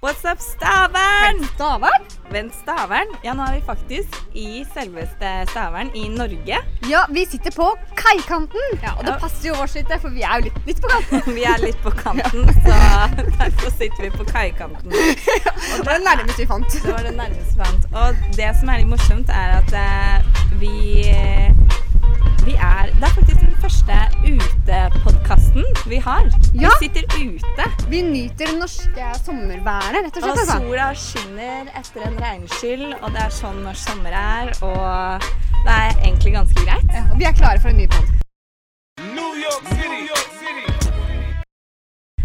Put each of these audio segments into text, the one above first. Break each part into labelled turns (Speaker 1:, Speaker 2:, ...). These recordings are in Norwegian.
Speaker 1: What's up, Stavern?
Speaker 2: Stavern?
Speaker 1: Vent, Stavern. Ja, nå er vi faktisk i selveste Stavern i Norge.
Speaker 2: Ja, vi sitter på kaikanten. Ja, og det
Speaker 1: Ja.
Speaker 2: passer jo oss litt, for vi er jo litt, litt på kanten.
Speaker 1: Vi er litt på kanten, så derfor sitter vi på kaikanten.
Speaker 2: Og det er nærmest vi fant.
Speaker 1: Det var det nærmeste vi fant. Og det som er litt morsomt, er at eh, vi eh, vi er, Det er faktisk den første utepodkasten vi har.
Speaker 2: Ja.
Speaker 1: Vi sitter ute,
Speaker 2: Vi nyter det norske sommerværet, rett
Speaker 1: og
Speaker 2: og slett. altså.
Speaker 1: sola skinner etter en regnskyll, og det er sånn norsk sommer er, og det er egentlig ganske greit.
Speaker 2: Ja, og vi er klare for en ny pod.
Speaker 3: New York City, New York City.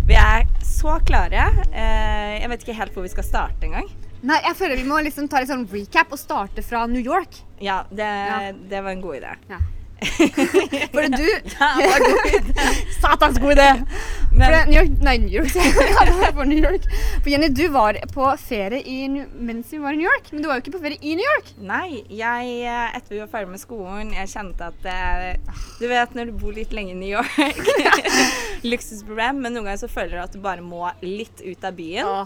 Speaker 1: Vi er så klare. Eh, Jeg vet ikke helt hvor vi skal starte engang.
Speaker 2: Nei, jeg føler vi må liksom ta litt sånn recap og starte fra New York.
Speaker 1: Ja, det,
Speaker 2: Ja.
Speaker 1: det var en god idé.
Speaker 2: Ja. For du
Speaker 1: det var en god idé.
Speaker 2: Satans god idé!
Speaker 1: Men-
Speaker 2: For New York, nei, New York, sier jeg. Ja, det var for New York. For Jenny, du var på ferie i, New- mens vi var i New York, men du var jo ikke på ferie i New York.
Speaker 1: Nei, jeg, eh, etter vi var ferdig med skolen, jeg kjente at eh, Du vet når du bor litt lenge i New York Luksusproblem, men noen ganger så føler du at du bare må litt ut av byen.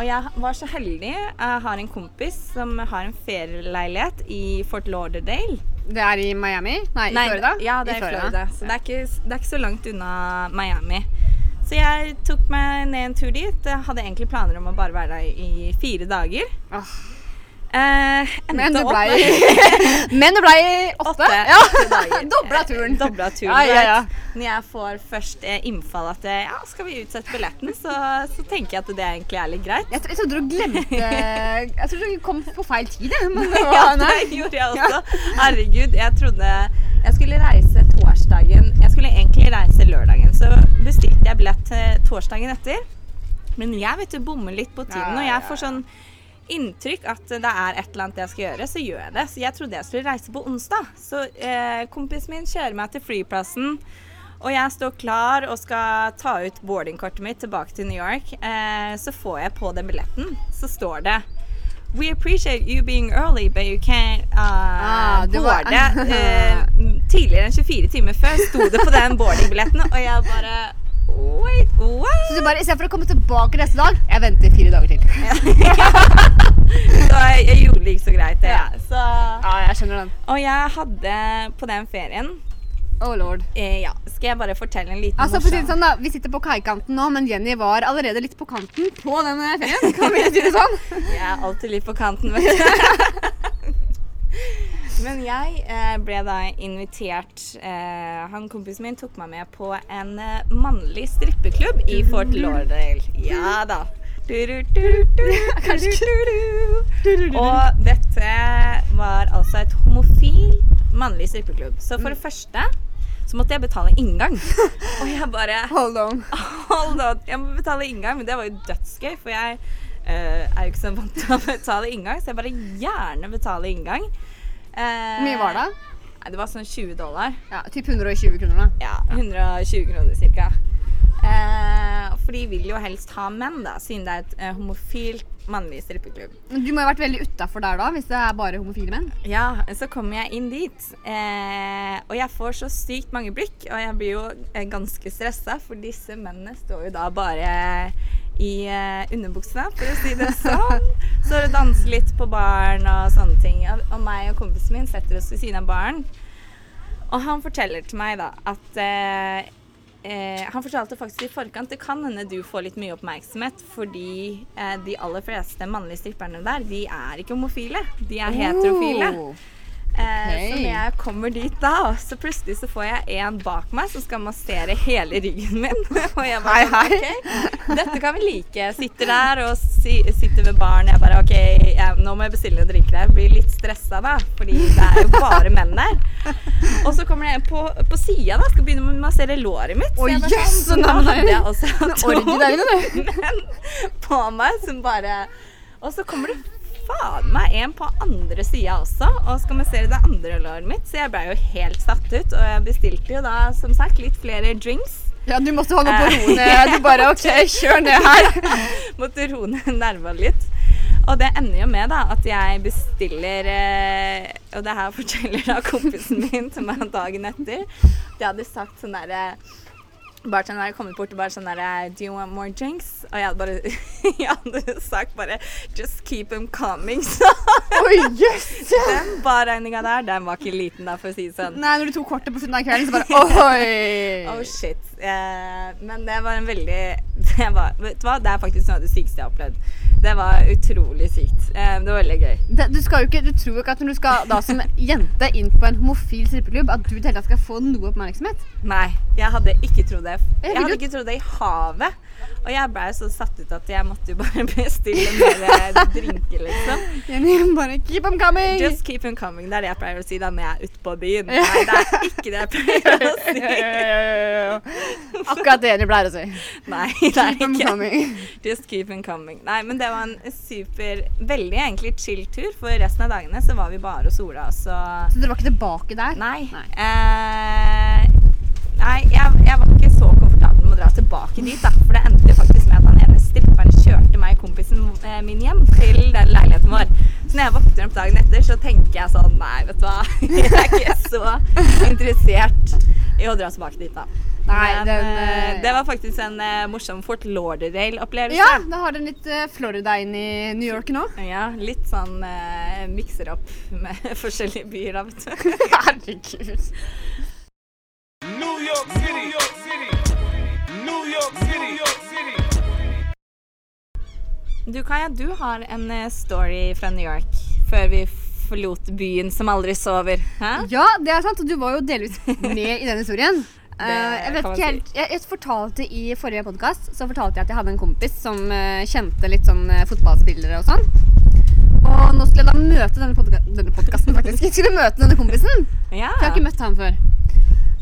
Speaker 1: Og jeg var så heldig. Jeg har en kompis som har en ferieleilighet i Fort Lauderdale.
Speaker 2: Det er i Miami? Nei, i Florida?
Speaker 1: Ja, det er i Florida. Så det er, ikke, det er ikke så langt unna Miami. Så jeg tok meg ned en tur dit. Jeg hadde egentlig planer om å bare være der i fire dager.
Speaker 2: Åh.
Speaker 1: Eh,
Speaker 2: Men
Speaker 1: endte
Speaker 2: det
Speaker 1: opp
Speaker 2: blei
Speaker 1: med-
Speaker 2: Men det blei åtte.
Speaker 1: Åtte,
Speaker 2: Ja.
Speaker 1: åtte dager.
Speaker 2: Dobla turen.
Speaker 1: Dobla turen.
Speaker 2: Ja, ja, ja.
Speaker 1: right? Når jeg får først eh, innfall at eh, ja, skal vi utsette billetten, så, så tenker jeg at det egentlig er litt greit.
Speaker 2: Jeg, tro- jeg trodde du glemte Jeg trodde du kom på feil tid, jeg. Men det
Speaker 1: Ja,
Speaker 2: var,
Speaker 1: det
Speaker 2: nei.
Speaker 1: gjorde jeg også. Herregud, jeg trodde jeg skulle reise torsdagen Jeg skulle egentlig reise lørdagen, så bestilte jeg billett eh, torsdagen etter. Men jeg vet du bommer litt på tiden, og jeg får sånn inntrykk at det er et eller annet jeg skal gjøre, så gjør jeg det. Så jeg trodde jeg skulle reise på onsdag. Så eh, kompisen min kjører meg til flyplassen. Og jeg står klar og skal ta ut boardingkortet mitt tilbake til New York. Eh, så får jeg på den billetten, så står det We appreciate you being early, but you can't uh,
Speaker 2: Ah, det var-
Speaker 1: boarde eh, tidligere enn 24 timer før. Sto det på den boardingbilletten, og jeg bare Wait, what?
Speaker 2: Så du bare, Istedenfor å komme tilbake neste dag Jeg venter fire dager til.
Speaker 1: Så jeg, jeg gjorde det ikke så greit, det. jeg. Så,
Speaker 2: Ja, jeg skjønner den.
Speaker 1: og jeg hadde på den ferien
Speaker 2: Oh lord.
Speaker 1: eh, Ja, skal jeg bare fortelle en liten
Speaker 2: Altså, for å si det sånn da, Vi sitter på kaikanten nå, men Jenny var allerede litt på kanten på den eh, ferien. Kan vi si det sånn?
Speaker 1: Jeg er alltid litt på kanten, vet du. Men jeg eh, ble da invitert eh, Han kompisen min tok meg med på en eh, mannlig strippeklubb i Fort Lauderdale. Ja da. Og dette var altså et homofil mannlig strippeklubb. Så for det første så måtte jeg betale inngang. Og jeg bare
Speaker 2: Hold on.
Speaker 1: Hold on. Jeg må betale inngang, men det var jo dødsgøy, for jeg eh, er jo ikke så vant til å betale inngang, så jeg bare gjerne betaler inngang.
Speaker 2: Hvor mye var det?
Speaker 1: Nei, det var sånn 20 dollar.
Speaker 2: Ja, Typ 120 kroner, da.
Speaker 1: Ja, 120 kroner cirka. Eh, for de vil jo helst ha menn, da, siden det er et eh, homofilt mannlig strippeklubb.
Speaker 2: Men Du må jo ha vært veldig utafor der da, hvis det er bare homofile menn?
Speaker 1: Ja, så kommer jeg inn dit, eh, og jeg får så sykt mange blikk, og jeg blir jo eh, ganske stressa, for disse mennene står jo da bare i eh, underbuksene, for å si det sånn. Så det danser litt på baren og sånne ting, og, og meg og kompisen min setter oss ved siden av baren, og han forteller til meg da at eh, Eh, han fortalte faktisk i forkant det kan hende du får litt mye oppmerksomhet fordi eh, de aller fleste mannlige stripperne der, de er ikke homofile. De er heterofile.
Speaker 2: Oh.
Speaker 1: Eh, Så
Speaker 2: ok.
Speaker 1: når jeg kommer dit da, så plutselig så får jeg en bak meg som skal massere hele ryggen min. og jeg bare sånn,
Speaker 2: Hei, hei.
Speaker 1: «Ok, dette kan vi like. Sitter der og si, sitter ved baren. Jeg bare OK, jeg, nå må jeg bestille noen drinker her. Blir litt stressa da, fordi det er jo bare menn der. Og så kommer det en på, på sida, da. Skal begynne med å massere låret mitt.
Speaker 2: Oi,
Speaker 1: jeg bare
Speaker 2: jøss,
Speaker 1: sånn,
Speaker 2: så
Speaker 1: da
Speaker 2: nærme deg.
Speaker 1: hadde jeg også hatt
Speaker 2: Orgi
Speaker 1: to
Speaker 2: der inne,
Speaker 1: menn på meg som bare Og så kommer det faen meg en på andre sida også og skal massere det andre låret mitt, så jeg ble jo helt satt ut. Og jeg bestilte jo da som sagt litt flere drinks.
Speaker 2: Ja, du måtte holde på
Speaker 1: Eh.
Speaker 2: roen. Du bare OK, kjør ned her.
Speaker 1: Måtte roe ned nervene litt. Og det ender jo med da, at jeg bestiller eh, Og det her forteller da kompisen min til meg dagen etter. at Jeg hadde sagt sånn derre Bartenderen hadde kommet bort og bare sånn der Do you want more drinks? Og jeg hadde bare jeg hadde sagt bare Just keep them coming. Så
Speaker 2: Oi, jøss!
Speaker 1: den barregninga der, den var ikke liten, da, for å si det sånn.
Speaker 2: Nei, når du tok kortet på slutten av kvelden, så bare oi!
Speaker 1: Oh shit. Eh, men det var en veldig det var, Vet du hva, det er faktisk noe av det sykeste jeg har opplevd. Det var utrolig sykt. Eh, det var veldig gøy.
Speaker 2: Det, du, skal jo ikke, du tror jo ikke at når du skal da som jente inn på en homofil strippeklubb, at du i det hele tatt skal få noe oppmerksomhet.
Speaker 1: Nei, jeg hadde ikke trodd det. Jeg
Speaker 2: vil
Speaker 1: hadde
Speaker 2: jo-
Speaker 1: ikke trodd det i havet. Og jeg blei så satt ut at jeg måtte jo bare bestille mer drinker, liksom.
Speaker 2: Jenny, bare keep on coming!
Speaker 1: Just keep them coming. Det er det jeg pleier å si da når jeg er ute på byen.
Speaker 2: Ja.
Speaker 1: Nei, det er ikke det jeg pleier å si.
Speaker 2: Akkurat det Jenny pleier å si.
Speaker 1: Nei, det er
Speaker 2: Keep on
Speaker 1: ikke.
Speaker 2: coming.
Speaker 1: Just keep them coming. Nei, men det var en super, veldig egentlig chill tur. For resten av dagene så var vi bare og sola oss og
Speaker 2: Så dere var ikke tilbake der?
Speaker 1: Nei.
Speaker 2: Nei.
Speaker 1: Eh, nei jeg, jeg var ikke så komfortabel med å dra tilbake dit, da. For det endte jo faktisk med at han ene stripperen kjørte meg og kompisen eh, min hjem til den leiligheten vår. Så når jeg våkner opp dagen etter, så tenker jeg sånn Nei, vet du hva. Jeg er ikke så interessert i å dra tilbake dit, da.
Speaker 2: Nei, den,
Speaker 1: eh,
Speaker 2: eh,
Speaker 1: det var faktisk en eh, morsom Fort Lauderdale-opplevelse.
Speaker 2: Ja, da har dere litt eh, Florida inn i New York nå.
Speaker 1: Ja, Litt sånn eh, mikser opp med forskjellige byer, da, vet du.
Speaker 2: Herregud.
Speaker 3: New York City, New York City, New York City, New York City.
Speaker 1: Du Kaja, du har en eh, story fra New York før vi forlot byen som aldri sover. Hæ?
Speaker 2: Ja, det er sant. Og du var jo delvis med i den historien. Eh, jeg vet
Speaker 1: kan man
Speaker 2: ikke helt, jeg, jeg fortalte I forrige podkast fortalte jeg at jeg hadde en kompis som eh, kjente litt sånn eh, fotballspillere og sånn. Og nå skulle jeg da møte denne, podka denne podkasten, faktisk. Jeg skulle møte denne kompisen.
Speaker 1: Ja.
Speaker 2: For jeg har ikke møtt han før.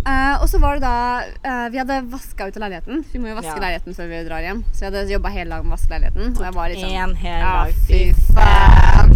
Speaker 2: Eh, og så var det da eh, Vi hadde vaska ut av leiligheten. Vi må jo vaske
Speaker 1: Ja.
Speaker 2: leiligheten før vi drar hjem. Så jeg hadde jobba hele dagen med å vaske leiligheten. Og jeg var litt sånn
Speaker 1: En hel
Speaker 2: Ja,
Speaker 1: dag.
Speaker 2: fy faen.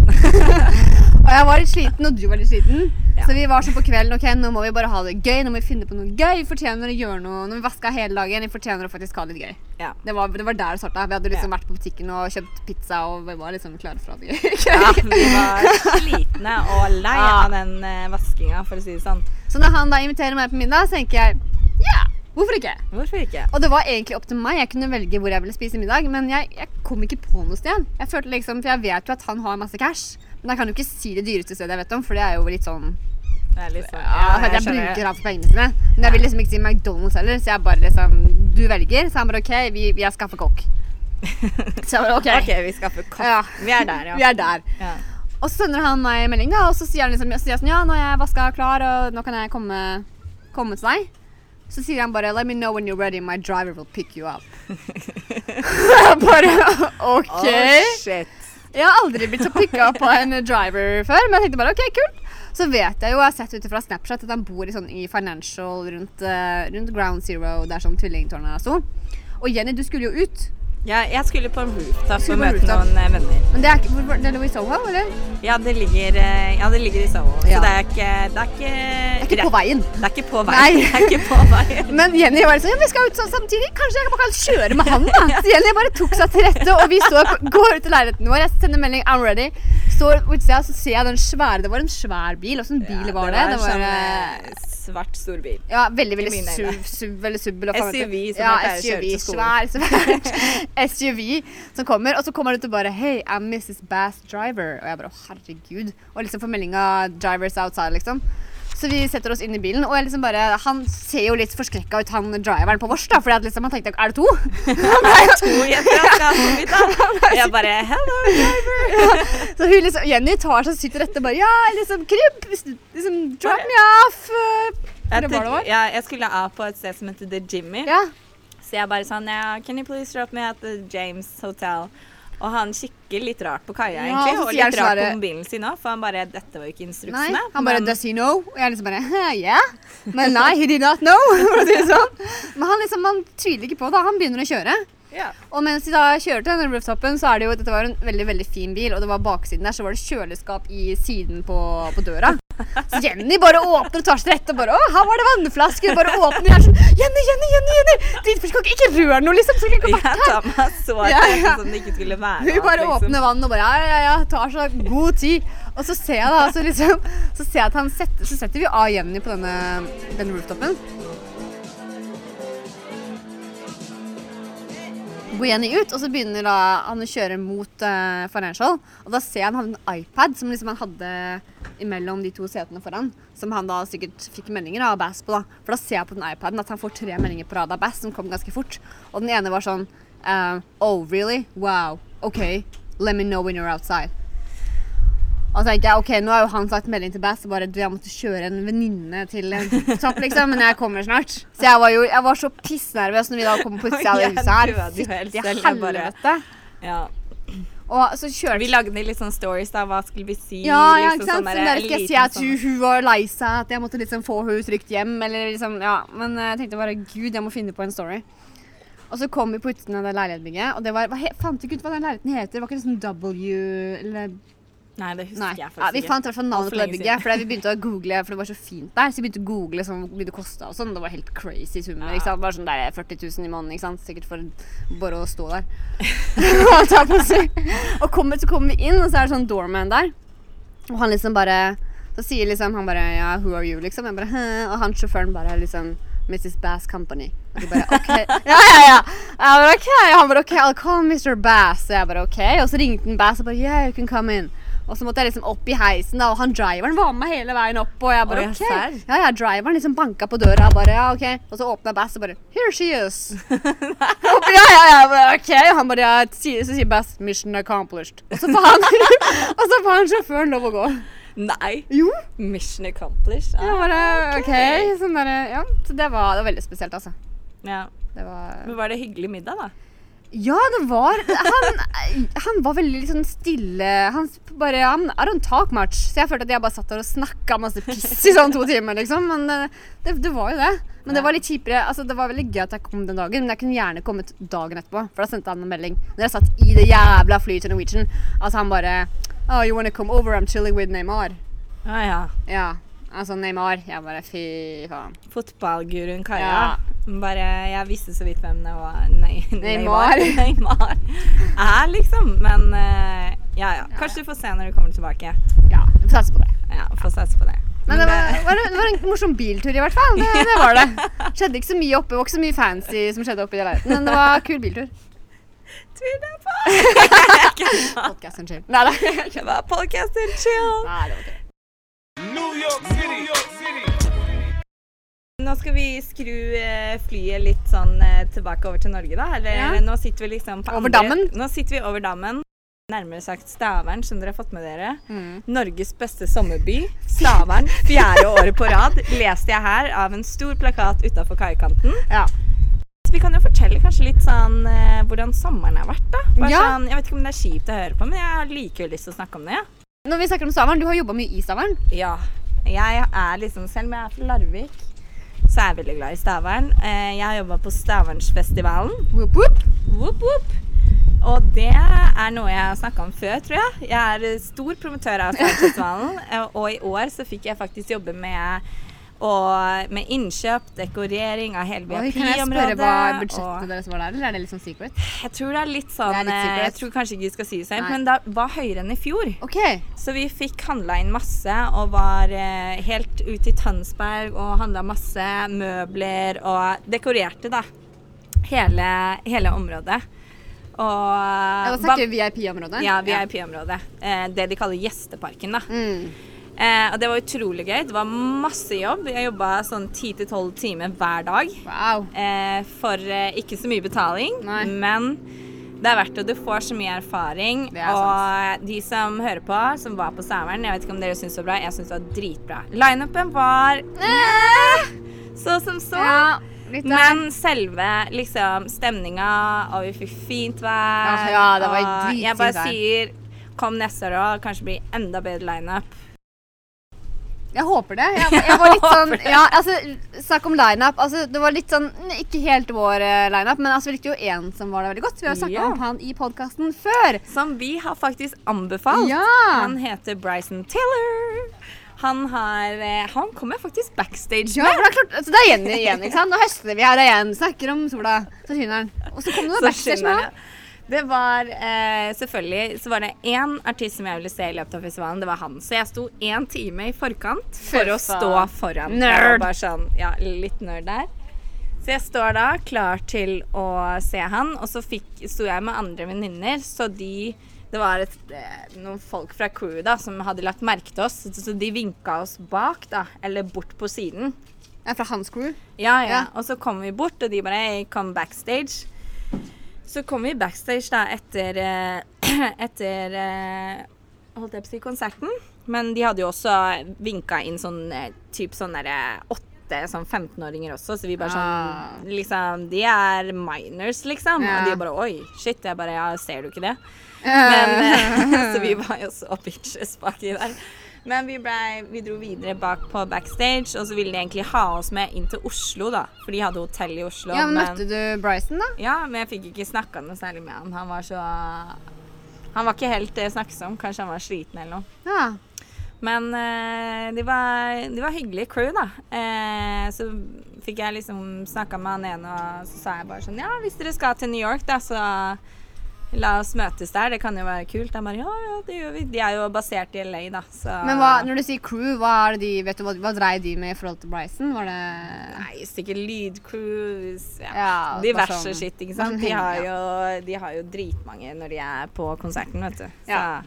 Speaker 2: og jeg var litt sliten, og du var litt sliten.
Speaker 1: Ja.
Speaker 2: Så vi var sånn på kvelden ok, nå må vi bare ha det gøy. Nå må vi finne på noe gøy. Vi fortjener å gjøre noe. Når vi vaska hele dagen, vi fortjener å faktisk ha det litt gøy.
Speaker 1: Ja.
Speaker 2: Det var, det var der det starta. Vi hadde liksom
Speaker 1: Ja.
Speaker 2: vært på butikken og kjøpt pizza og vi var liksom klare for å ha det gøy.
Speaker 1: ja, vi var slitne og lei
Speaker 2: Ja.
Speaker 1: av den eh, vaskinga, for å si det sånn.
Speaker 2: Så når han da inviterer meg på middag, så tenker jeg ja, hvorfor ikke?
Speaker 1: Hvorfor ikke?
Speaker 2: Og det var egentlig opp til meg. Jeg kunne velge hvor jeg ville spise middag, men jeg, jeg kom ikke på noe sted. Jeg følte liksom, For jeg vet jo at han har masse cash, men jeg kan jo ikke si det dyreste stedet jeg vet om, for det er jo litt sånn
Speaker 1: Det er litt sånn-
Speaker 2: Ja, for at jeg
Speaker 1: skjønner.
Speaker 2: bruker han for pengene sine. Men jeg vil liksom ikke si McDonald's heller, så jeg bare liksom Du velger. Så han bare OK, vi, vi har skaffa kokk. Så jeg bare OK.
Speaker 1: OK, vi skaffer kopp.
Speaker 2: Ja.
Speaker 1: Vi er der, ja.
Speaker 2: Vi er der.
Speaker 1: ja.
Speaker 2: Og så sender han meg melding, da, og så sier han liksom så sier jeg sånn, ja, nå er jeg vaska klar, og nå kan jeg komme, komme til deg. Så sier han bare let me know when you're ready, my driver will pick you up. Jeg bare OK.
Speaker 1: Å, shit.
Speaker 2: Jeg har aldri blitt så picka opp av en driver før, men jeg tenkte bare OK, kult. Så vet jeg jo, jeg har sett ut fra Snapchat, at han bor i, sånn, i Financial rundt, eh, rundt Ground Zero, der sånn som tvillingtårna sto. Og Jenny, du skulle jo ut.
Speaker 1: Ja, jeg skulle på en rooftop
Speaker 2: Skulle
Speaker 1: og
Speaker 2: på
Speaker 1: møte
Speaker 2: rooftop.
Speaker 1: noen eh, venner.
Speaker 2: Men det er ikke hvor- hvor- Det lå i Soho, eller?
Speaker 1: Ja, det ligger, eh, ja, det ligger i Soho,
Speaker 2: Ja.
Speaker 1: så det er ikke Det er ikke,
Speaker 2: Det er ikke på veien.
Speaker 1: Det er ikke på vei.
Speaker 2: Nei.
Speaker 1: Det er ikke på vei.
Speaker 2: Men Jenny var sånn, ja, vi skal ut sånn samtidig, kanskje jeg bare kan kjøre med han da. Så Jenny bare tok seg til rette, og vi står, på- går ut til leiligheten vår, jeg sender melding, I'm ready. Står utsida, så ser jeg den svære, det var en svær bil, og sånn bil var det.
Speaker 1: en
Speaker 2: Det var,
Speaker 1: sånn
Speaker 2: eh,
Speaker 1: eh, svart stor bil.
Speaker 2: ja, veldig,
Speaker 1: i
Speaker 2: veldig
Speaker 1: mine
Speaker 2: SUV,
Speaker 1: øyne.
Speaker 2: SUV eller SUV. Eller, hva faen
Speaker 1: SUV,
Speaker 2: heter det?
Speaker 1: som
Speaker 2: ja,
Speaker 1: jeg pleier å kjøre til
Speaker 2: SUV, svær, svær SUV som kommer, og så kommer han ut og bare, hey, I'm Mrs. Bass Driver. Og jeg bare, «Å, herregud. Og liksom får melding av drivers outside, liksom. Så vi setter oss inn i bilen, og jeg liksom bare, han ser jo litt forskrekka ut, han driveren på vårs da, fordi at liksom, han tenkte, er det to? Han ble jo-
Speaker 1: To jenter har skaffet mitt, da. Jeg bare Hello, driver.
Speaker 2: så hun liksom, Jenny tar seg sitt rette, bare, ja, liksom, kryp, liksom, drop me off. eh, Eller var det var?
Speaker 1: ja, jeg skulle av på et sted som heter The Jimmy.
Speaker 2: Ja,
Speaker 1: Så jeg bare sånn ja, Can you please drop me at the James Hotel? Og han kikker litt rart på kaia,
Speaker 2: Ja,
Speaker 1: egentlig.
Speaker 2: og så
Speaker 1: og
Speaker 2: sier han
Speaker 1: litt rart på
Speaker 2: sånn
Speaker 1: mobilen sin òg, for han bare Dette var jo ikke
Speaker 2: Nei,
Speaker 1: instruksene.
Speaker 2: han bare
Speaker 1: men-
Speaker 2: 'Does he know?' Og jeg liksom bare «Hæ, 'Yeah'. Men nei, he did not know. for å si det sånn. Men han liksom, han tviler ikke på det. Han begynner å kjøre.
Speaker 1: ja.
Speaker 2: Og mens de da kjører til denne rooftopen, så er det jo Dette var jo en veldig veldig fin bil, og det var baksiden der, så var det kjøleskap i siden på, på døra. Så Jenny bare åpner og tar seg til rette og bare 'Å, her var det vannflasker.' Bare åpner jeg er sånn 'Jenny, Jenny, Jenny!' Jenny Dritforsk, ikke, ikke rør noe, liksom. Så kan ikke
Speaker 1: Jeg
Speaker 2: vært her.
Speaker 1: tar meg så
Speaker 2: Ja,
Speaker 1: til
Speaker 2: ja.
Speaker 1: som det ikke skulle være.
Speaker 2: Hun bare
Speaker 1: liksom.
Speaker 2: åpner vannet og bare ja, ja, ja, tar så god tid. Og så ser jeg da, så liksom, så ser jeg at han setter, så setter vi av Jenny på denne, denne rooftopen. går Jenny ut, og så begynner da han å kjøre mot eh, Financial. Og da ser han han hadde en iPad som liksom han hadde imellom de to setene foran. Som han da sikkert fikk meldinger av Bass på. da. For da ser jeg på den iPaden at han får tre meldinger på rad av Bass som kom ganske fort. Og den ene var sånn eh, Oh, really? Wow. OK. Let me know when you're outside. Og så tenkte jeg, ok, nå har jo han sagt melding til Bass, og bare du, jeg måtte kjøre en venninne til en topp, liksom, men jeg kommer snart. Så jeg var jo, jeg var så pissnervøs når vi da kom på utsida av det
Speaker 1: Jeg
Speaker 2: huset her.
Speaker 1: døde jo helt
Speaker 2: Fytti
Speaker 1: selv, jeg bare-
Speaker 2: helvete.
Speaker 1: Ja.
Speaker 2: Og så kjørte
Speaker 1: Vi lagde litt sånn stories da, hva skulle vi si?
Speaker 2: ja, ja, ikke sant?
Speaker 1: sånn
Speaker 2: Sånn der, skal jeg si
Speaker 1: liten
Speaker 2: at hun, hun var lei seg, at jeg måtte liksom få hun trygt hjem, eller liksom, ja. Men eh, jeg tenkte bare, gud, jeg må finne på en story. Og så kom vi på utsiden av det leilighetsbygget, og det var, hva he, fant ikke ut hva den leiligheten heter, det var ikke liksom W, eller
Speaker 1: sånn. Nei, det husker
Speaker 2: Nei.
Speaker 1: jeg
Speaker 2: Ja, vi
Speaker 1: faktisk
Speaker 2: fant i hvert fall navnet
Speaker 1: Altfor
Speaker 2: på det
Speaker 1: lenge
Speaker 2: bygget. For vi begynte å google, for det var så fint der. Så vi begynte å google sånn, hvor mye det kosta og sånn. Det var helt crazy summer.
Speaker 1: Ja.
Speaker 2: ikke sant? Bare sånn der 40 000 i måneden, ikke sant. Sikkert for bare å stå der. og ta på seg. Og kommer, så kommer vi inn, og så er det sånn doorman der. Og han liksom bare Så sier liksom han bare Ja, who are you, liksom? Jeg bare Hæ? Og han sjåføren bare liksom Mrs. Bass Company. Og de bare OK. Ja, ja, ja. Jeg bare OK. Og han bare OK, I'll call Mr. Bass. Og jeg bare OK. Og så ringte han Bass og bare Yeah, you can come in. Og så måtte jeg liksom opp i heisen, da, og han driveren var med meg hele veien opp. Og jeg bare
Speaker 1: Oi,
Speaker 2: OK.
Speaker 1: serr?
Speaker 2: Ja, ja, driveren liksom banka på døra og bare Ja, OK. Og så åpna Bass og bare Here she is. Og bare, ja, ja, ja, bare, ok. Og han bare, ja, sier- så sier Bass 'mission accomplished'. Og så får han, og så får han sjåføren lov å gå.
Speaker 1: Nei,
Speaker 2: Jo.
Speaker 1: Mission Accomplished.
Speaker 2: Jeg
Speaker 1: Ja.
Speaker 2: bare, ok. Sånn der, ja. Så det var, det var veldig spesielt, altså.
Speaker 1: Ja.
Speaker 2: Det var...
Speaker 1: Men var det hyggelig middag, da?
Speaker 2: Ja, det var han, han var veldig litt sånn stille. Han s- bare han, I don't talk much. Så jeg følte at jeg bare satt der og snakka masse piss i sånn to timer, liksom. Men eh, det, det var jo det. Men det var litt kjipere. Altså, det var veldig gøy at jeg kom den dagen, men jeg kunne gjerne kommet dagen etterpå. For da sendte han en melding. Når jeg satt i det jævla flyet til Norwegian. Altså, han bare Oh, you wanna come over? I'm chilling with Neymar.
Speaker 1: Ja, ja.
Speaker 2: Ja. Altså, Neymar. Jeg bare fy faen.
Speaker 1: Fotballguruen Kaja.
Speaker 2: Ja.
Speaker 1: Bare, jeg visste så vidt hvem det var. Nei,
Speaker 2: Neymar.
Speaker 1: Neymar er, liksom. Men eh, ja, ja. Kanskje du får se når du kommer tilbake.
Speaker 2: Ja. Vi får satse på det.
Speaker 1: Ja, Få satse på det.
Speaker 2: Men det var, var, det var en morsom biltur i hvert fall. Det, det var det. Skjedde ikke så mye oppe, det var ikke så mye fancy som skjedde oppe i leiligheten, men det var kul biltur.
Speaker 1: Tviler på! Jeg kødder.
Speaker 2: Podcast and chill. Nei, nei.
Speaker 1: Det var podcasten Chill.
Speaker 2: nei det var ikke det.
Speaker 3: New York City, New York City.
Speaker 1: Nå skal vi skru eh, flyet litt sånn eh, tilbake over til Norge, da. Eller
Speaker 2: Ja.
Speaker 1: nå sitter vi liksom på
Speaker 2: Over
Speaker 1: andre-
Speaker 2: dammen?
Speaker 1: Nå sitter vi over dammen. Nærmere sagt Stavern, som dere har fått med dere.
Speaker 2: Mm.
Speaker 1: Norges beste sommerby, Stavern, fjerde året på rad, leste jeg her av en stor plakat utafor kaikanten.
Speaker 2: Ja.
Speaker 1: Så vi kan jo fortelle kanskje litt sånn eh, hvordan sommeren har vært, da. Bare
Speaker 2: Ja.
Speaker 1: sånn, jeg vet ikke om det er kjipt å høre på, men jeg har likevel lyst til å snakke om det. Ja.
Speaker 2: Når vi snakker om Stavern, du har jobba mye i Stavern.
Speaker 1: Ja. Jeg er liksom, selv om jeg er fra Larvik, så er jeg veldig glad i Stavern. Eh, Jeg har jobba på Stavernsfestivalen.
Speaker 2: Whoop, whoop.
Speaker 1: Whoop, whoop. Og det er noe jeg har snakka om før, tror jeg. Jeg er eh, stor promotør av Stavernsfestivalen, eh, og i år så fikk jeg faktisk jobbe med og med innkjøp, dekorering av hele
Speaker 2: Oi, kan jeg spørre
Speaker 1: VIP-området.
Speaker 2: hva budsjettet deres var der, eller er det litt sånn secret?
Speaker 1: Jeg tror det er litt sånn
Speaker 2: Det er litt
Speaker 1: eh, Jeg
Speaker 2: secret.
Speaker 1: tror kanskje ikke vi skal si det selv,
Speaker 2: Nei.
Speaker 1: men det var høyere enn i fjor.
Speaker 2: OK.
Speaker 1: Så vi fikk handla inn masse og var eh, helt ute i Tønsberg og handla masse møbler og dekorerte da hele, hele området. Og eh,
Speaker 2: Ja, Da snakker vi VIP-området.
Speaker 1: ja, VIP-området. Eh, det de kaller Gjesteparken, da.
Speaker 2: Mm.
Speaker 1: Eh, og det var utrolig gøy. Det var masse jobb. Jeg jobba sånn 10-12 timer hver dag.
Speaker 2: Wow.
Speaker 1: Eh, for eh, ikke så mye betaling,
Speaker 2: Nei.
Speaker 1: men det er verdt det. Du får så mye erfaring.
Speaker 2: Det er
Speaker 1: og de som hører på, som var på Stavern, jeg vet ikke om dere syns det var bra, jeg syns det var dritbra. Lineupen var så som så.
Speaker 2: Ja, litt der.
Speaker 1: Men selve liksom, stemninga, og vi fikk fint vær
Speaker 2: Ah, ja, det var
Speaker 1: og
Speaker 2: dritfint
Speaker 1: Jeg bare
Speaker 2: vær.
Speaker 1: sier kom neste år òg, kanskje blir enda bedre lineup.
Speaker 2: Jeg håper det. Jeg, jeg var litt sånn ja, altså, Snakk om lineup. Altså, det var litt sånn mm, Ikke helt vår eh, lineup, men altså, vi likte jo én som var der veldig godt. Vi har snakka
Speaker 1: Ja.
Speaker 2: om han i podkasten før.
Speaker 1: Som vi har faktisk anbefalt.
Speaker 2: Ja.
Speaker 1: Han heter Bryson Taylor. Han, har, eh, han kommer faktisk backstage
Speaker 2: Ja, for det er klart, altså, det er Jenny igjen. ikke sant? Nå høster vi her igjen. Snakker om sola. Så skinner den. Og så kom det noe
Speaker 1: Så
Speaker 2: backstage
Speaker 1: skinner
Speaker 2: med
Speaker 1: det. Det var eh, selvfølgelig Så var det én artist som jeg ville se i løpet av festivalen. Det var han. Så jeg sto én time i forkant for
Speaker 2: Fy
Speaker 1: å
Speaker 2: faen.
Speaker 1: stå foran. Jeg
Speaker 2: Nerd.
Speaker 1: var Bare sånn, ja, litt nerd der. Så jeg står da klar til å se han, og så fikk, sto jeg med andre venninner, så de Det var et, eh, noen folk fra crewet da, som hadde lagt merke til oss, så de vinka oss bak, da, eller bort på siden.
Speaker 2: Jeg er fra hans crew.
Speaker 1: Ja, ja.
Speaker 2: Ja.
Speaker 1: Og så kom vi bort, og de bare «Hey, 'Kom backstage'. Så kom vi backstage da etter eh, Etter eh, Holdt jeg på å si konserten. Men de hadde jo også vinka inn sånn eh, typ sånn derre åtte sånn 15-åringer også, så vi bare
Speaker 2: Ah.
Speaker 1: sånn Liksom De er minors, liksom.
Speaker 2: Ja.
Speaker 1: Og de bare 'Oi, shit'. Jeg bare 'Ja, ser du ikke det?' Men, eh,
Speaker 2: Men,
Speaker 1: så vi var jo så bitches baki der. Men vi, ble, vi dro videre bak på backstage, og så ville de egentlig ha oss med inn til Oslo, da. For de hadde hotell i Oslo.
Speaker 2: ja, men Møtte du Bryson, da?
Speaker 1: ja, men jeg fikk ikke snakka noe særlig med han. Han var så Han var ikke helt eh, snakksom. Kanskje han var sliten eller noe.
Speaker 2: Ja.
Speaker 1: Men eh, de, var, de var hyggelige crew, da. Eh, så fikk jeg liksom snakka med han ene, og så sa jeg bare sånn Ja, hvis dere skal til New York, da, så la oss møtes der. Det kan jo være kult. Han bare Ja, ja, det gjør vi. De er jo basert i LA, da, så
Speaker 2: Men hva, når du sier crew, hva er det de, vet du, hva, hva dreier de med i forhold til Bryson? Var det
Speaker 1: Nei, sikkert lydcrew ja.
Speaker 2: Ja, bare
Speaker 1: Diverse
Speaker 2: sånn-
Speaker 1: shit, ikke
Speaker 2: bare
Speaker 1: sant.
Speaker 2: sånn
Speaker 1: De
Speaker 2: henge,
Speaker 1: har,
Speaker 2: ja.
Speaker 1: jo, de har jo dritmange når de er på konserten, vet du. Så
Speaker 2: Ja.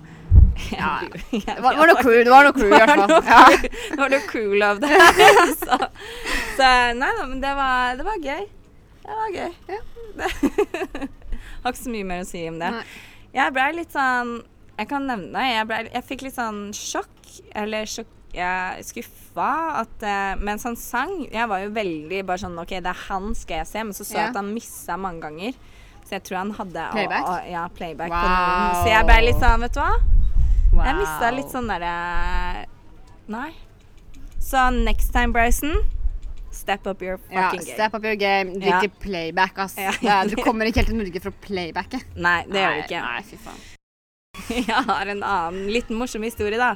Speaker 2: Ja, ja.
Speaker 1: jeg- jeg
Speaker 2: Det var, var noe
Speaker 1: vet
Speaker 2: crew, det var noe crew i hvert
Speaker 1: Det var
Speaker 2: fall.
Speaker 1: noe
Speaker 2: Ja.
Speaker 1: crew- Det var noe crew love der. Så, så nei da, men det var, det var gøy. Det var gøy.
Speaker 2: Ja.
Speaker 1: Det, har ikke så mye mer å si om det.
Speaker 2: Nei.
Speaker 1: Jeg blei litt sånn Jeg kan nevne det. Jeg, ble, jeg fikk litt sånn sjokk, eller sjokk jeg skuffa at eh, Mens han sang Jeg var jo veldig bare sånn OK, det er han skal jeg se, men så så jeg
Speaker 2: Ja.
Speaker 1: at han missa mange ganger. Så jeg tror han hadde å-
Speaker 2: Playback?
Speaker 1: å- ja, playback på
Speaker 2: Wow.
Speaker 1: noen. Så jeg blei litt sånn, vet du hva? Jeg mista
Speaker 2: Wow.
Speaker 1: litt sånn derre Nei. Så next time, Bryson, step up your
Speaker 2: ja,
Speaker 1: fucking game.
Speaker 2: Step up your game. Drikk
Speaker 1: Ja.
Speaker 2: til playback, ass.
Speaker 1: Ja.
Speaker 2: Ja, du kommer ikke helt til Norge for å playbacke.
Speaker 1: Nei, det gjør du ikke.
Speaker 2: Nei, fy faen.
Speaker 1: Jeg har en annen liten morsom historie, da.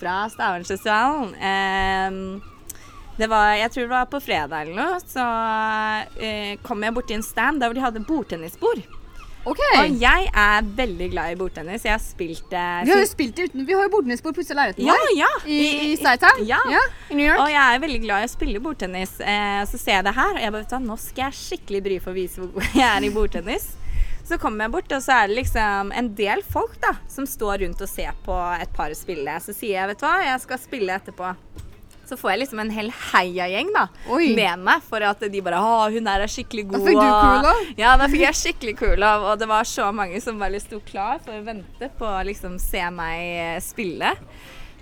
Speaker 1: Fra Stavernfestivalen. Ehm, det var, jeg tror det var på fredag eller noe, så eh, kom jeg borti en stand der hvor de hadde bordtennisbord.
Speaker 2: OK.
Speaker 1: Og jeg er veldig glad i bordtennis. Jeg har spilt eh,
Speaker 2: Vi har jo
Speaker 1: siden-
Speaker 2: spilt det uten Vi har jo bordtennisbord plutselig i leiligheten
Speaker 1: Ja,
Speaker 2: vår.
Speaker 1: ja.
Speaker 2: I, I Stuytown?
Speaker 1: Ja.
Speaker 2: I New York?
Speaker 1: Og jeg er veldig glad i å spille bordtennis. Eh, så ser jeg det her, og jeg bare vet du hva, nå skal jeg skikkelig bry for å vise hvor god jeg er i bordtennis. Så kommer jeg bort, og så er det liksom en del folk da, som står rundt og ser på et par spille. Så sier jeg, vet du hva, jeg skal spille etterpå. Så får jeg liksom en hel heiagjeng da,
Speaker 2: Oi.
Speaker 1: med meg, for at de bare, å, hun her er skikkelig god.
Speaker 2: fikk du
Speaker 1: og-
Speaker 2: kul
Speaker 1: Ja, da fikk jeg skikkelig kul av, og det var så mange som bare sto klar for å vente på å liksom se meg eh, spille.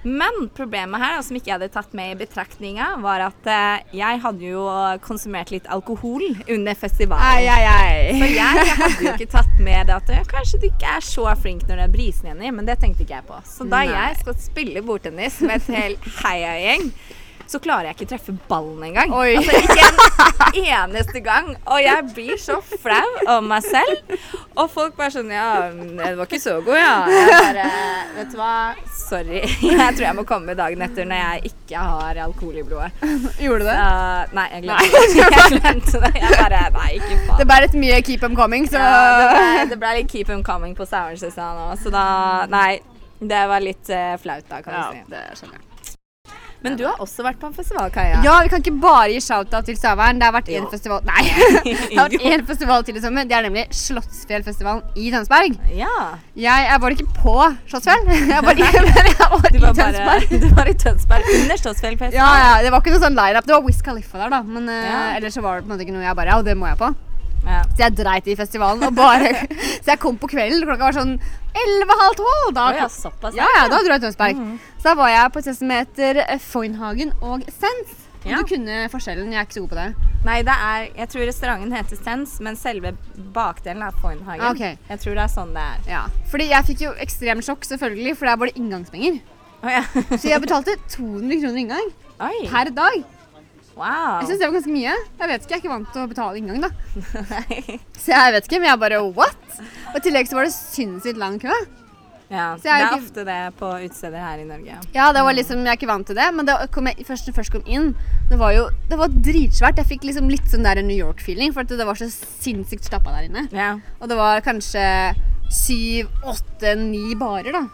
Speaker 1: Men problemet her, da, som ikke jeg hadde tatt med i betraktninga, var at eh, jeg hadde jo konsumert litt alkohol under
Speaker 2: Ai,
Speaker 1: festivalen.
Speaker 2: ai, ai.
Speaker 1: Og jeg, jeg hadde jo ikke tatt med det at eh, kanskje du ikke er så flink når det er brisen enig, men det tenkte ikke jeg på. Så da
Speaker 2: Nei.
Speaker 1: jeg skal spille bordtennis med et hel heiagjeng, så klarer jeg ikke treffe ballen engang.
Speaker 2: Oi.
Speaker 1: Altså ikke en eneste gang. Og jeg blir så flau over meg selv. Og folk bare sånn Ja, det var ikke så god, ja. Jeg bare Vet du hva? Sorry. Jeg tror jeg må komme dagen etter når jeg ikke har alkohol i blodet.
Speaker 2: Gjorde du det?
Speaker 1: Så- nei, jeg glemte det. Jeg glemte det. Jeg bare Nei, ikke faen.
Speaker 2: Det ble litt mye keep them coming, så
Speaker 1: Ja, det, ble, det ble litt keep them coming på Sauernsøsteren òg, så da Nei. Det var litt eh, flaut, da, kan
Speaker 2: Ja,
Speaker 1: du si.
Speaker 2: det skjønner jeg.
Speaker 1: Men du har også vært på en festival, Kaja.
Speaker 2: Ja, vi kan ikke bare gi shout-out til Stavern. Det har vært én
Speaker 1: Jo.
Speaker 2: festival Nei! Det har vært
Speaker 1: Jo.
Speaker 2: én festival til i sommer. Det er nemlig Slottsfjellfestivalen i Tønsberg.
Speaker 1: Ja.
Speaker 2: Jeg, jeg var ikke på Slottsfjell. Jeg var, i- men jeg var
Speaker 1: Du
Speaker 2: i
Speaker 1: var, bare,
Speaker 2: Tønsberg.
Speaker 1: du var i Tønsberg under Slottsfjellfesten.
Speaker 2: Ja, ja, Det var ikke noe sånn line-up. Det var Wiz Khalifa der, da. Men eh,
Speaker 1: Ja.
Speaker 2: ellers så var det på en måte ikke noe jeg bare Ja, det må jeg på.
Speaker 1: Ja.
Speaker 2: Så jeg dreit i festivalen. Og bare, så jeg kom på kvelden. Klokka var sånn 11.30. Da,
Speaker 1: Å ja, Mhm. såpass.
Speaker 2: Ja, ja, da dro jeg til Tønsberg. Så da var jeg på et sted som heter eh, Foynhagen og Sens. Om
Speaker 1: Ja.
Speaker 2: Du kunne forskjellen, jeg er ikke så god på det.
Speaker 1: Nei, det er Jeg tror restauranten heter Sens, men selve bakdelen er Foynhagen.
Speaker 2: Ah, ok.
Speaker 1: Jeg tror det er sånn det er.
Speaker 2: Ja. Fordi jeg fikk jo ekstremt sjokk, selvfølgelig, for der var det inngangspenger.
Speaker 1: Å ja.
Speaker 2: Så jeg betalte 200 kroner inngang
Speaker 1: Oi.
Speaker 2: per dag.
Speaker 1: Wow.
Speaker 2: Jeg syns det var ganske mye. Jeg vet ikke, jeg er ikke vant til å betale inngang, da.
Speaker 1: Nei.
Speaker 2: Så jeg vet ikke, men jeg bare what? Og i tillegg så var det sinnssykt lang kø.
Speaker 1: Ja,
Speaker 2: Så
Speaker 1: det
Speaker 2: jeg
Speaker 1: er
Speaker 2: er ikke-
Speaker 1: ofte det på utesteder her i Norge.
Speaker 2: Ja, det var liksom, jeg er ikke vant til det, men det kom jeg, først, først kom inn, det var jo det var dritsvært. Jeg fikk liksom litt sånn der New York-feeling, for at det var så sinnssykt stappa der inne.
Speaker 1: Ja.
Speaker 2: Og det var kanskje syv, åtte, ni barer, da.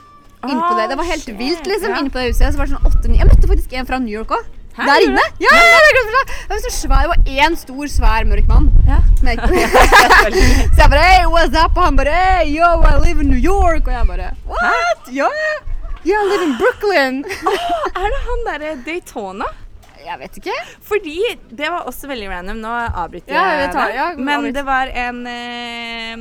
Speaker 2: Innpå
Speaker 1: Ah,
Speaker 2: det. Det var helt
Speaker 1: shit,
Speaker 2: vilt, liksom.
Speaker 1: ja.
Speaker 2: Innpå det huset. Så var det sånn åtte, ni Jeg møtte faktisk en fra New York òg.
Speaker 1: Hæ,
Speaker 2: Der
Speaker 1: gjorde
Speaker 2: inne! Ja, ja, ja, jeg glemte det! Det var så svær, det var én stor, svær, mørk mann.
Speaker 1: Ja.
Speaker 2: som jeg ikke- så jeg bare hey, what's up? Og han bare hey, yo, I live in New York. Og jeg bare what? Ja, ja. Yeah, I live in Brooklyn.
Speaker 1: Er det han derre Daytona?
Speaker 2: jeg vet ikke.
Speaker 1: Fordi det var også veldig random. Nå avbryter
Speaker 2: Ja, vi tar-
Speaker 1: deg.
Speaker 2: ja,
Speaker 1: Men
Speaker 2: avbryt.
Speaker 1: det var en eh,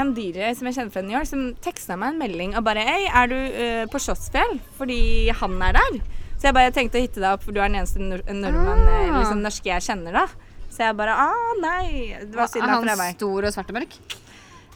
Speaker 1: en dyrere som jeg kjenner fra New York, som teksta meg en melding og bare Hei, er du eh, på Slottsfjell? Fordi han er der. Så jeg bare tenkte å hitte deg opp, for du er den eneste nor nordmann, eh,
Speaker 2: Ah.
Speaker 1: liksom norske jeg kjenner, da. Så jeg bare ah, nei. Det var synd da,
Speaker 2: er
Speaker 1: for
Speaker 2: Ah, han
Speaker 1: det er meg.
Speaker 2: stor og svart og mørk?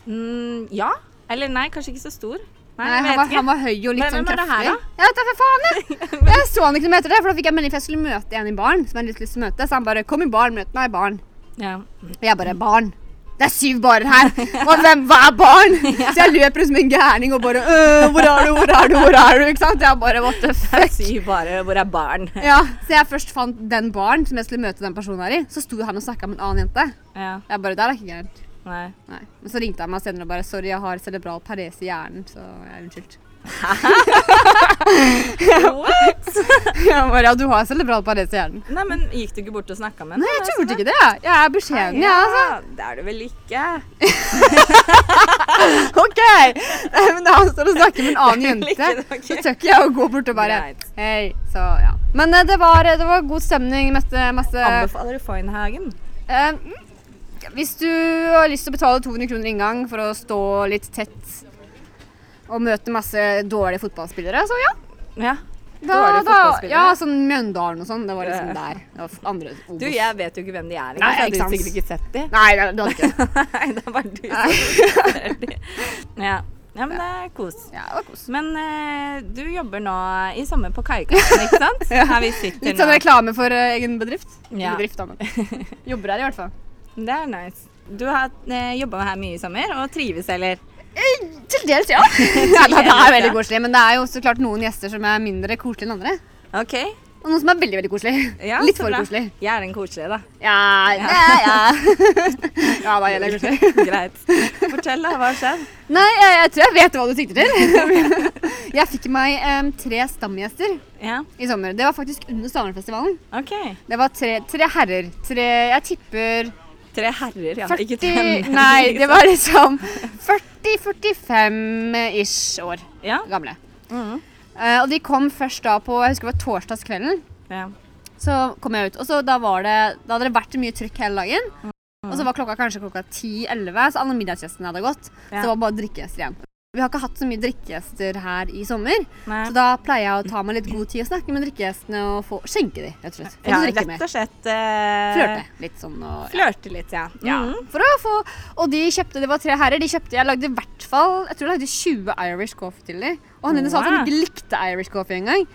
Speaker 1: Mm, ja. Eller nei, kanskje ikke så stor. Nei,
Speaker 2: Nei,
Speaker 1: jeg
Speaker 2: han
Speaker 1: vet
Speaker 2: var,
Speaker 1: ikke.
Speaker 2: han var høy og litt
Speaker 1: Men
Speaker 2: sånn
Speaker 1: hvem er det her,
Speaker 2: kraftig. Jeg vet da for faen, jeg! Jeg så han ikke noe etter det, for da fikk jeg melding for jeg skulle møte en i baren. Som jeg hadde litt lyst til å møte, Så han bare 'Kom i baren, møt meg i baren'.
Speaker 1: Ja.
Speaker 2: Og jeg bare 'Barn'. Det er syv barer her! Og hvem hva er barn? Så jeg løper som en gærning og bare øh, 'Hvor er du, hvor er du, hvor er du?' Ikke sant? Jeg bare what the fuck.
Speaker 1: Si bare hvor er barn.
Speaker 2: Ja, så jeg først fant den baren som jeg skulle møte den personen her i, så sto han og snakka med en annen jente.
Speaker 1: Ja,
Speaker 2: Jeg bare, der er ikke gærent.
Speaker 1: nei.
Speaker 2: Nei. Men så ringte han meg senere og bare 'Sorry, jeg har cerebral parese i hjernen', så jeg er unnskyldt.
Speaker 1: What?
Speaker 2: Jeg bare, ja, du har cerebral parese i hjernen.
Speaker 1: Nei, men gikk du ikke bort og snakka med henne?
Speaker 2: Nei, jeg turte ikke det. jeg. Jeg er beskjeden, jeg, altså.
Speaker 1: Det er du vel ikke?
Speaker 2: OK! Men da han står og snakker med en annen
Speaker 1: Det er vel
Speaker 2: jente,
Speaker 1: ikke det, ok.
Speaker 2: så tør ikke jeg å gå bort og bare
Speaker 1: Greit.
Speaker 2: Hei. Så ja. Men eh, det var, det var god stemning. Møtte masse
Speaker 1: Anbefaler du Foynhagen?
Speaker 2: Eh, mm. Hvis du har lyst til å betale 200 kroner inngang for å stå litt tett og møte masse dårlige fotballspillere, så ja.
Speaker 1: Ja.
Speaker 2: Da,
Speaker 1: Dårlige
Speaker 2: da,
Speaker 1: fotballspillere?
Speaker 2: ja, sånn Mjøndalen og sånn. Det var liksom der. Det var andre Obos.
Speaker 1: Du, jeg vet jo ikke hvem de er.
Speaker 2: Nei,
Speaker 1: så
Speaker 2: ikke
Speaker 1: hadde
Speaker 2: sant.
Speaker 1: du sikkert ikke sett de.
Speaker 2: Nei, det hadde ikke det.
Speaker 1: Nei, det er bare du som ser de. Ja. ja, men det er kos.
Speaker 2: Ja, det var kos.
Speaker 1: Men eh, du jobber nå i sommer på Kaikanten, ikke sant? Her vi sitter
Speaker 2: Litt sånn
Speaker 1: nå.
Speaker 2: reklame for eh, egen bedrift.
Speaker 1: Ja.
Speaker 2: Ja. Bedrift, da, men. Jobber her i hvert fall.
Speaker 1: Det er nice. Du har uh, jobba her mye i sommer og trives, eller?
Speaker 2: Eh, Til dels, ja. ja det, det er veldig koselig, men det er jo så klart noen gjester som er mindre koselige enn andre.
Speaker 1: OK.
Speaker 2: Og noen som er veldig, veldig koselige.
Speaker 1: Ja,
Speaker 2: Litt
Speaker 1: så
Speaker 2: for
Speaker 1: bra.
Speaker 2: koselige.
Speaker 1: Jeg er den koselige, da.
Speaker 2: Ja, ja, ja. ja da gjelder det koselig.
Speaker 1: Greit. Fortell, da. Hva har skjedd?
Speaker 2: Nei, jeg, jeg tror jeg vet hva du sikter til. jeg fikk meg em, tre stamgjester
Speaker 1: Ja,
Speaker 2: i sommer. Det var faktisk under Stavangerfestivalen.
Speaker 1: OK.
Speaker 2: Det var tre, tre herrer. Tre Jeg tipper
Speaker 1: Tre herrer, ja. Ikke tre
Speaker 2: 40
Speaker 1: menn.
Speaker 2: Nei, det var liksom 40-45-ish år
Speaker 1: Ja.
Speaker 2: gamle. Eh, og de kom først da på Jeg husker det var torsdagskvelden.
Speaker 1: ja.
Speaker 2: Så kom jeg ut, og så da var det Da hadde det vært mye trykk hele dagen.
Speaker 1: Mm.
Speaker 2: Og så var klokka kanskje klokka 10-11, så alle middagsgjestene hadde gått. Så
Speaker 1: Ja.
Speaker 2: det var bare drikkegjester igjen. Vi har ikke hatt så mye drikkegjester her i sommer,
Speaker 1: Nei.
Speaker 2: så da pleier jeg å ta meg litt god tid og snakke med drikkegjestene og få, skjenke dem, rett og slett. Få
Speaker 1: ja,
Speaker 2: dem drikke
Speaker 1: rett
Speaker 2: mer.
Speaker 1: og slett eh,
Speaker 2: Flørte Mm. litt sånn og
Speaker 1: Flørte litt, ja.
Speaker 2: ja.
Speaker 1: Mhm.
Speaker 2: For å få, og de kjøpte, det var tre herrer, de kjøpte, jeg lagde i hvert fall, jeg tror jeg lagde 20 Irish coffee til dem. Og han ene sa at han
Speaker 1: Wow.
Speaker 2: ikke likte Irish coffee engang.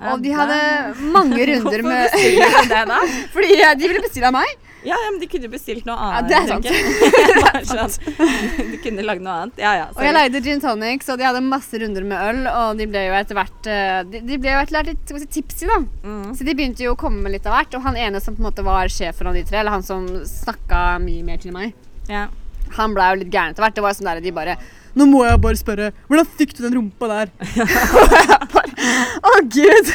Speaker 1: Ja,
Speaker 2: Og de
Speaker 1: da-
Speaker 2: hadde mange runder
Speaker 1: Hvorfor
Speaker 2: med,
Speaker 1: bestiller du det, da?
Speaker 2: fordi eh, de ville bestille av meg.
Speaker 1: Ja, ja, men de kunne bestilt noe
Speaker 2: Ja,
Speaker 1: annet.
Speaker 2: det er sant.
Speaker 1: tenker jeg. Sånn. De kunne lagd noe annet. Ja, ja.
Speaker 2: Og jeg
Speaker 1: sorry.
Speaker 2: leide gin tonic, så de hadde masse runder med øl, og de ble jo etter hvert eh, De, de ble jo etter hvert litt skal vi si, tipsy, da.
Speaker 1: Mhm.
Speaker 2: Så de begynte jo å komme med litt av hvert. Og han ene som på en måte var sjefen av de tre, eller han som snakka mye mer til meg,
Speaker 1: Ja.
Speaker 2: han blei jo litt gæren etter hvert. Det var jo sånn der de bare Nå må jeg bare spørre, hvordan fikk du den rumpa der? Og jeg bare, Å, gud!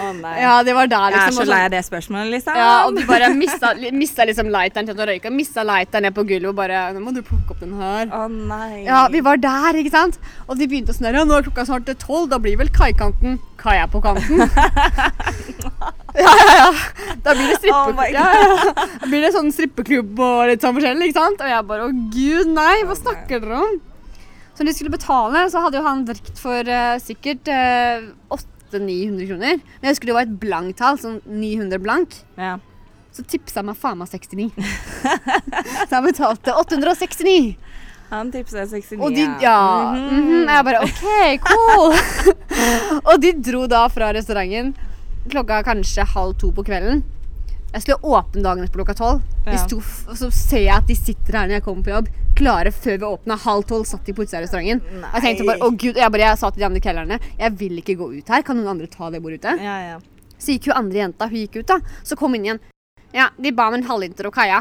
Speaker 1: Å nei.
Speaker 2: Ja, det var der,
Speaker 1: jeg er
Speaker 2: liksom.
Speaker 1: så
Speaker 2: og
Speaker 1: lei
Speaker 2: sånn-
Speaker 1: av det spørsmålet, liksom.
Speaker 2: Ja, og de bare mista, mista liksom lighteren til å røyke. Mista lighteren ned på gulvet og bare Nå må du plukke opp den her.
Speaker 1: Å nei.
Speaker 2: Ja, vi var der, ikke sant? Og de begynte å snøre. Nå er klokka snart tolv, da blir vel kaikanten kaia på kanten. ja, ja, ja. Da blir det
Speaker 1: Oh
Speaker 2: strippeklubb.
Speaker 1: my God.
Speaker 2: ja, ja. Da blir det sånn strippeklubb og litt sånn forskjellig, ikke sant? Og jeg bare å gud, nei,
Speaker 1: Oh
Speaker 2: hva snakker dere om? Så når de skulle betale, så hadde jo han drikt for eh, sikkert eh, 800-900 kroner. Men jeg husker det var et blanktall, sånn 900 blank.
Speaker 1: ja.
Speaker 2: Så tipsa han meg faen meg 69. så han betalte 869.
Speaker 1: Han tipsa 69.
Speaker 2: Og de, ja. mhm, Jeg bare OK, cool. og de dro da fra restauranten klokka kanskje halv to på kvelden. Jeg skulle åpne dagen etter klokka tolv. De
Speaker 1: Ja.
Speaker 2: sto, f- og så ser jeg at de sitter her når jeg kommer på jobb, klare før vi åpna. Halv tolv satt de på utsida av restauranten. Og Jeg tenkte bare,
Speaker 1: Nei.
Speaker 2: å gud, jeg, bare, jeg sa til de andre kelnerne jeg vil ikke gå ut her. Kan noen andre ta det bordet ute?
Speaker 1: Ja, ja.
Speaker 2: Så gikk jo andre jenta, hun gikk ut da, så kom hun inn igjen. Ja, de ba om en halvliter og kaia.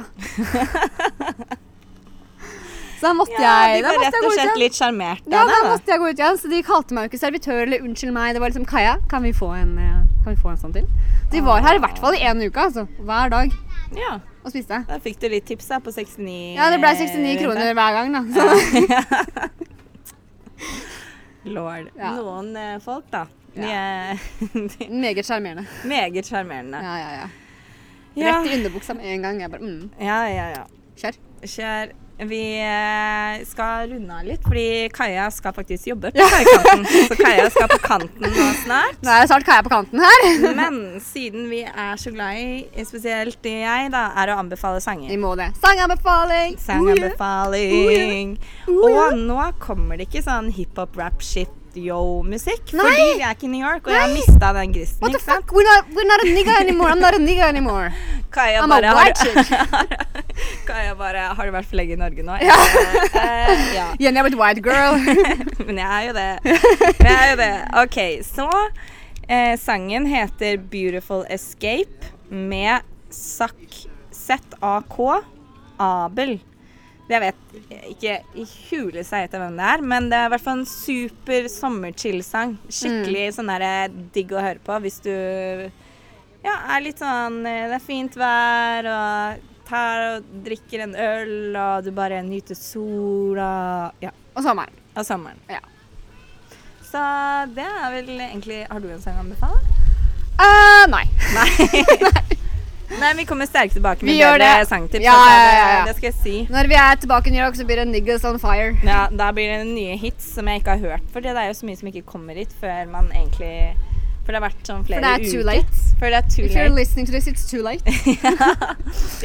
Speaker 2: så da måtte jeg
Speaker 1: ja de
Speaker 2: da
Speaker 1: ble
Speaker 2: måtte
Speaker 1: rett
Speaker 2: jeg
Speaker 1: og
Speaker 2: gå ut igjen.
Speaker 1: slett litt sjarmert
Speaker 2: Ja,
Speaker 1: av
Speaker 2: da
Speaker 1: det. da.
Speaker 2: måtte jeg gå ut igjen, så de kalte meg jo ikke servitør eller unnskyld meg. Det var liksom Kaja, kan vi få en eh, Kan vi få en sånn til? De var her i hvert fall i en uke, altså. Hver dag.
Speaker 1: Ja,
Speaker 2: Og spiste.
Speaker 1: da fikk du litt tips da på 69
Speaker 2: Ja, det ble
Speaker 1: Eh,
Speaker 2: 69 kroner hver gang, da. Så.
Speaker 1: Lord.
Speaker 2: Ja.
Speaker 1: Noen eh, folk, da. De er de er
Speaker 2: Meget sjarmerende.
Speaker 1: meget sjarmerende.
Speaker 2: Ja, ja, ja.
Speaker 1: Ja.
Speaker 2: Rett i underbuksa med en gang. Jeg bare mm,
Speaker 1: ja, ja, ja.
Speaker 2: kjør.
Speaker 1: Kjør. Vi eh, skal runde av litt, fordi Kaja skal faktisk jobbe på kaikanten. Så Kaja skal på kanten nå snart.
Speaker 2: Nå er det snart Kaja på kanten her.
Speaker 1: Men siden vi er så glad i, spesielt jeg, da, er å anbefale
Speaker 2: Vi
Speaker 1: sanger.
Speaker 2: må det. Sanganbefaling!
Speaker 1: Sanganbefaling.
Speaker 2: Oh, ja.
Speaker 1: Og nå kommer det ikke sånn hiphop, rap, shit, yo-musikk.
Speaker 2: Nei.
Speaker 1: Fordi vi er ikke i New York, og jeg har
Speaker 2: Nei.
Speaker 1: mista den grisen.
Speaker 2: What the
Speaker 1: ikke sant?
Speaker 2: fuck? We're not, we're not a nigga anymore. I'm not a nigga anymore.
Speaker 1: Kaja
Speaker 2: I'm a
Speaker 1: bare, har,
Speaker 2: white chick.
Speaker 1: Kaja bare Har du vært for lenge i Norge nå?
Speaker 2: Ja.
Speaker 1: Eh, ja.
Speaker 2: Jenny er blitt white girl.
Speaker 1: Men jeg er jo det. Jeg er jo det. OK, så eh, sangen heter 'Beautiful Escape' med Zack ZAK Abel. Jeg vet ikke i huleste jeg heter hvem det er, men det er i hvert fall en super sommerchill-sang. Skikkelig sånn der digg å høre på hvis du ja, er litt sånn eh, Det er fint vær og tar og drikker en øl, og du bare nyter sola Ja
Speaker 2: Og sommeren.
Speaker 1: av sommeren.
Speaker 2: Ja.
Speaker 1: Så det er vel egentlig Har du en sang å anbefale?
Speaker 2: Eh, nei.
Speaker 1: Nei, vi kommer sterkt tilbake med
Speaker 2: Vi gjør
Speaker 1: bedre
Speaker 2: det.
Speaker 1: sangtips.
Speaker 2: Ja,
Speaker 1: altså,
Speaker 2: ja, ja, ja.
Speaker 1: Det, det skal jeg si.
Speaker 2: Når vi er tilbake i New York, så blir det niggas on fire.
Speaker 1: Ja, da blir det nye hits som jeg ikke har hørt. For det er jo så mye som ikke kommer hit før man egentlig For det har vært sånn flere
Speaker 2: For det er
Speaker 1: uker.
Speaker 2: too late.
Speaker 1: For det er too
Speaker 2: If you're
Speaker 1: late.
Speaker 2: listening to this, it's too late.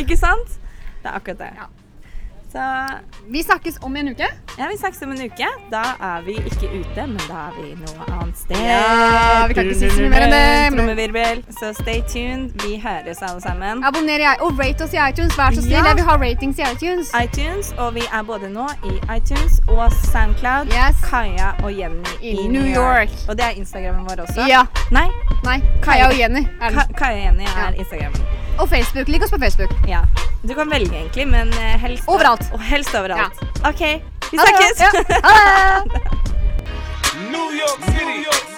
Speaker 1: ikke sant? Det er akkurat det.
Speaker 2: Ja.
Speaker 1: Så
Speaker 2: Vi snakkes om en uke.
Speaker 1: ja, vi snakkes om en uke. Da er vi ikke ute, men da er vi noe annet sted.
Speaker 2: Ja, vi kan ikke si så mye mer enn det, men-
Speaker 1: Trommevirvel. Så stay tuned. Vi høres, alle sammen.
Speaker 2: Abonner i i- og rate oss i iTunes. Vær så snill.
Speaker 1: Ja.
Speaker 2: Jeg vil ha ratings i iTunes.
Speaker 1: iTunes, og vi er både nå i iTunes og Soundcloud.
Speaker 2: Yes.
Speaker 1: Kaja og Jenny i, New York. Og det er Instagrammen vår også?
Speaker 2: Ja.
Speaker 1: Nei,
Speaker 2: Nei. Kaja og Jenny. Er
Speaker 1: Ka
Speaker 2: den.
Speaker 1: Kaja og Jenny
Speaker 2: Ja.
Speaker 1: er Instagrammen.
Speaker 2: Og Facebook. Lik oss på Facebook.
Speaker 1: Ja. Du kan velge, egentlig, men eh, helst
Speaker 2: Overalt.
Speaker 1: Og helst overalt. OK, vi
Speaker 2: Ha det bra.
Speaker 1: snakkes!
Speaker 2: Ja. Ha det.
Speaker 3: New York City. New York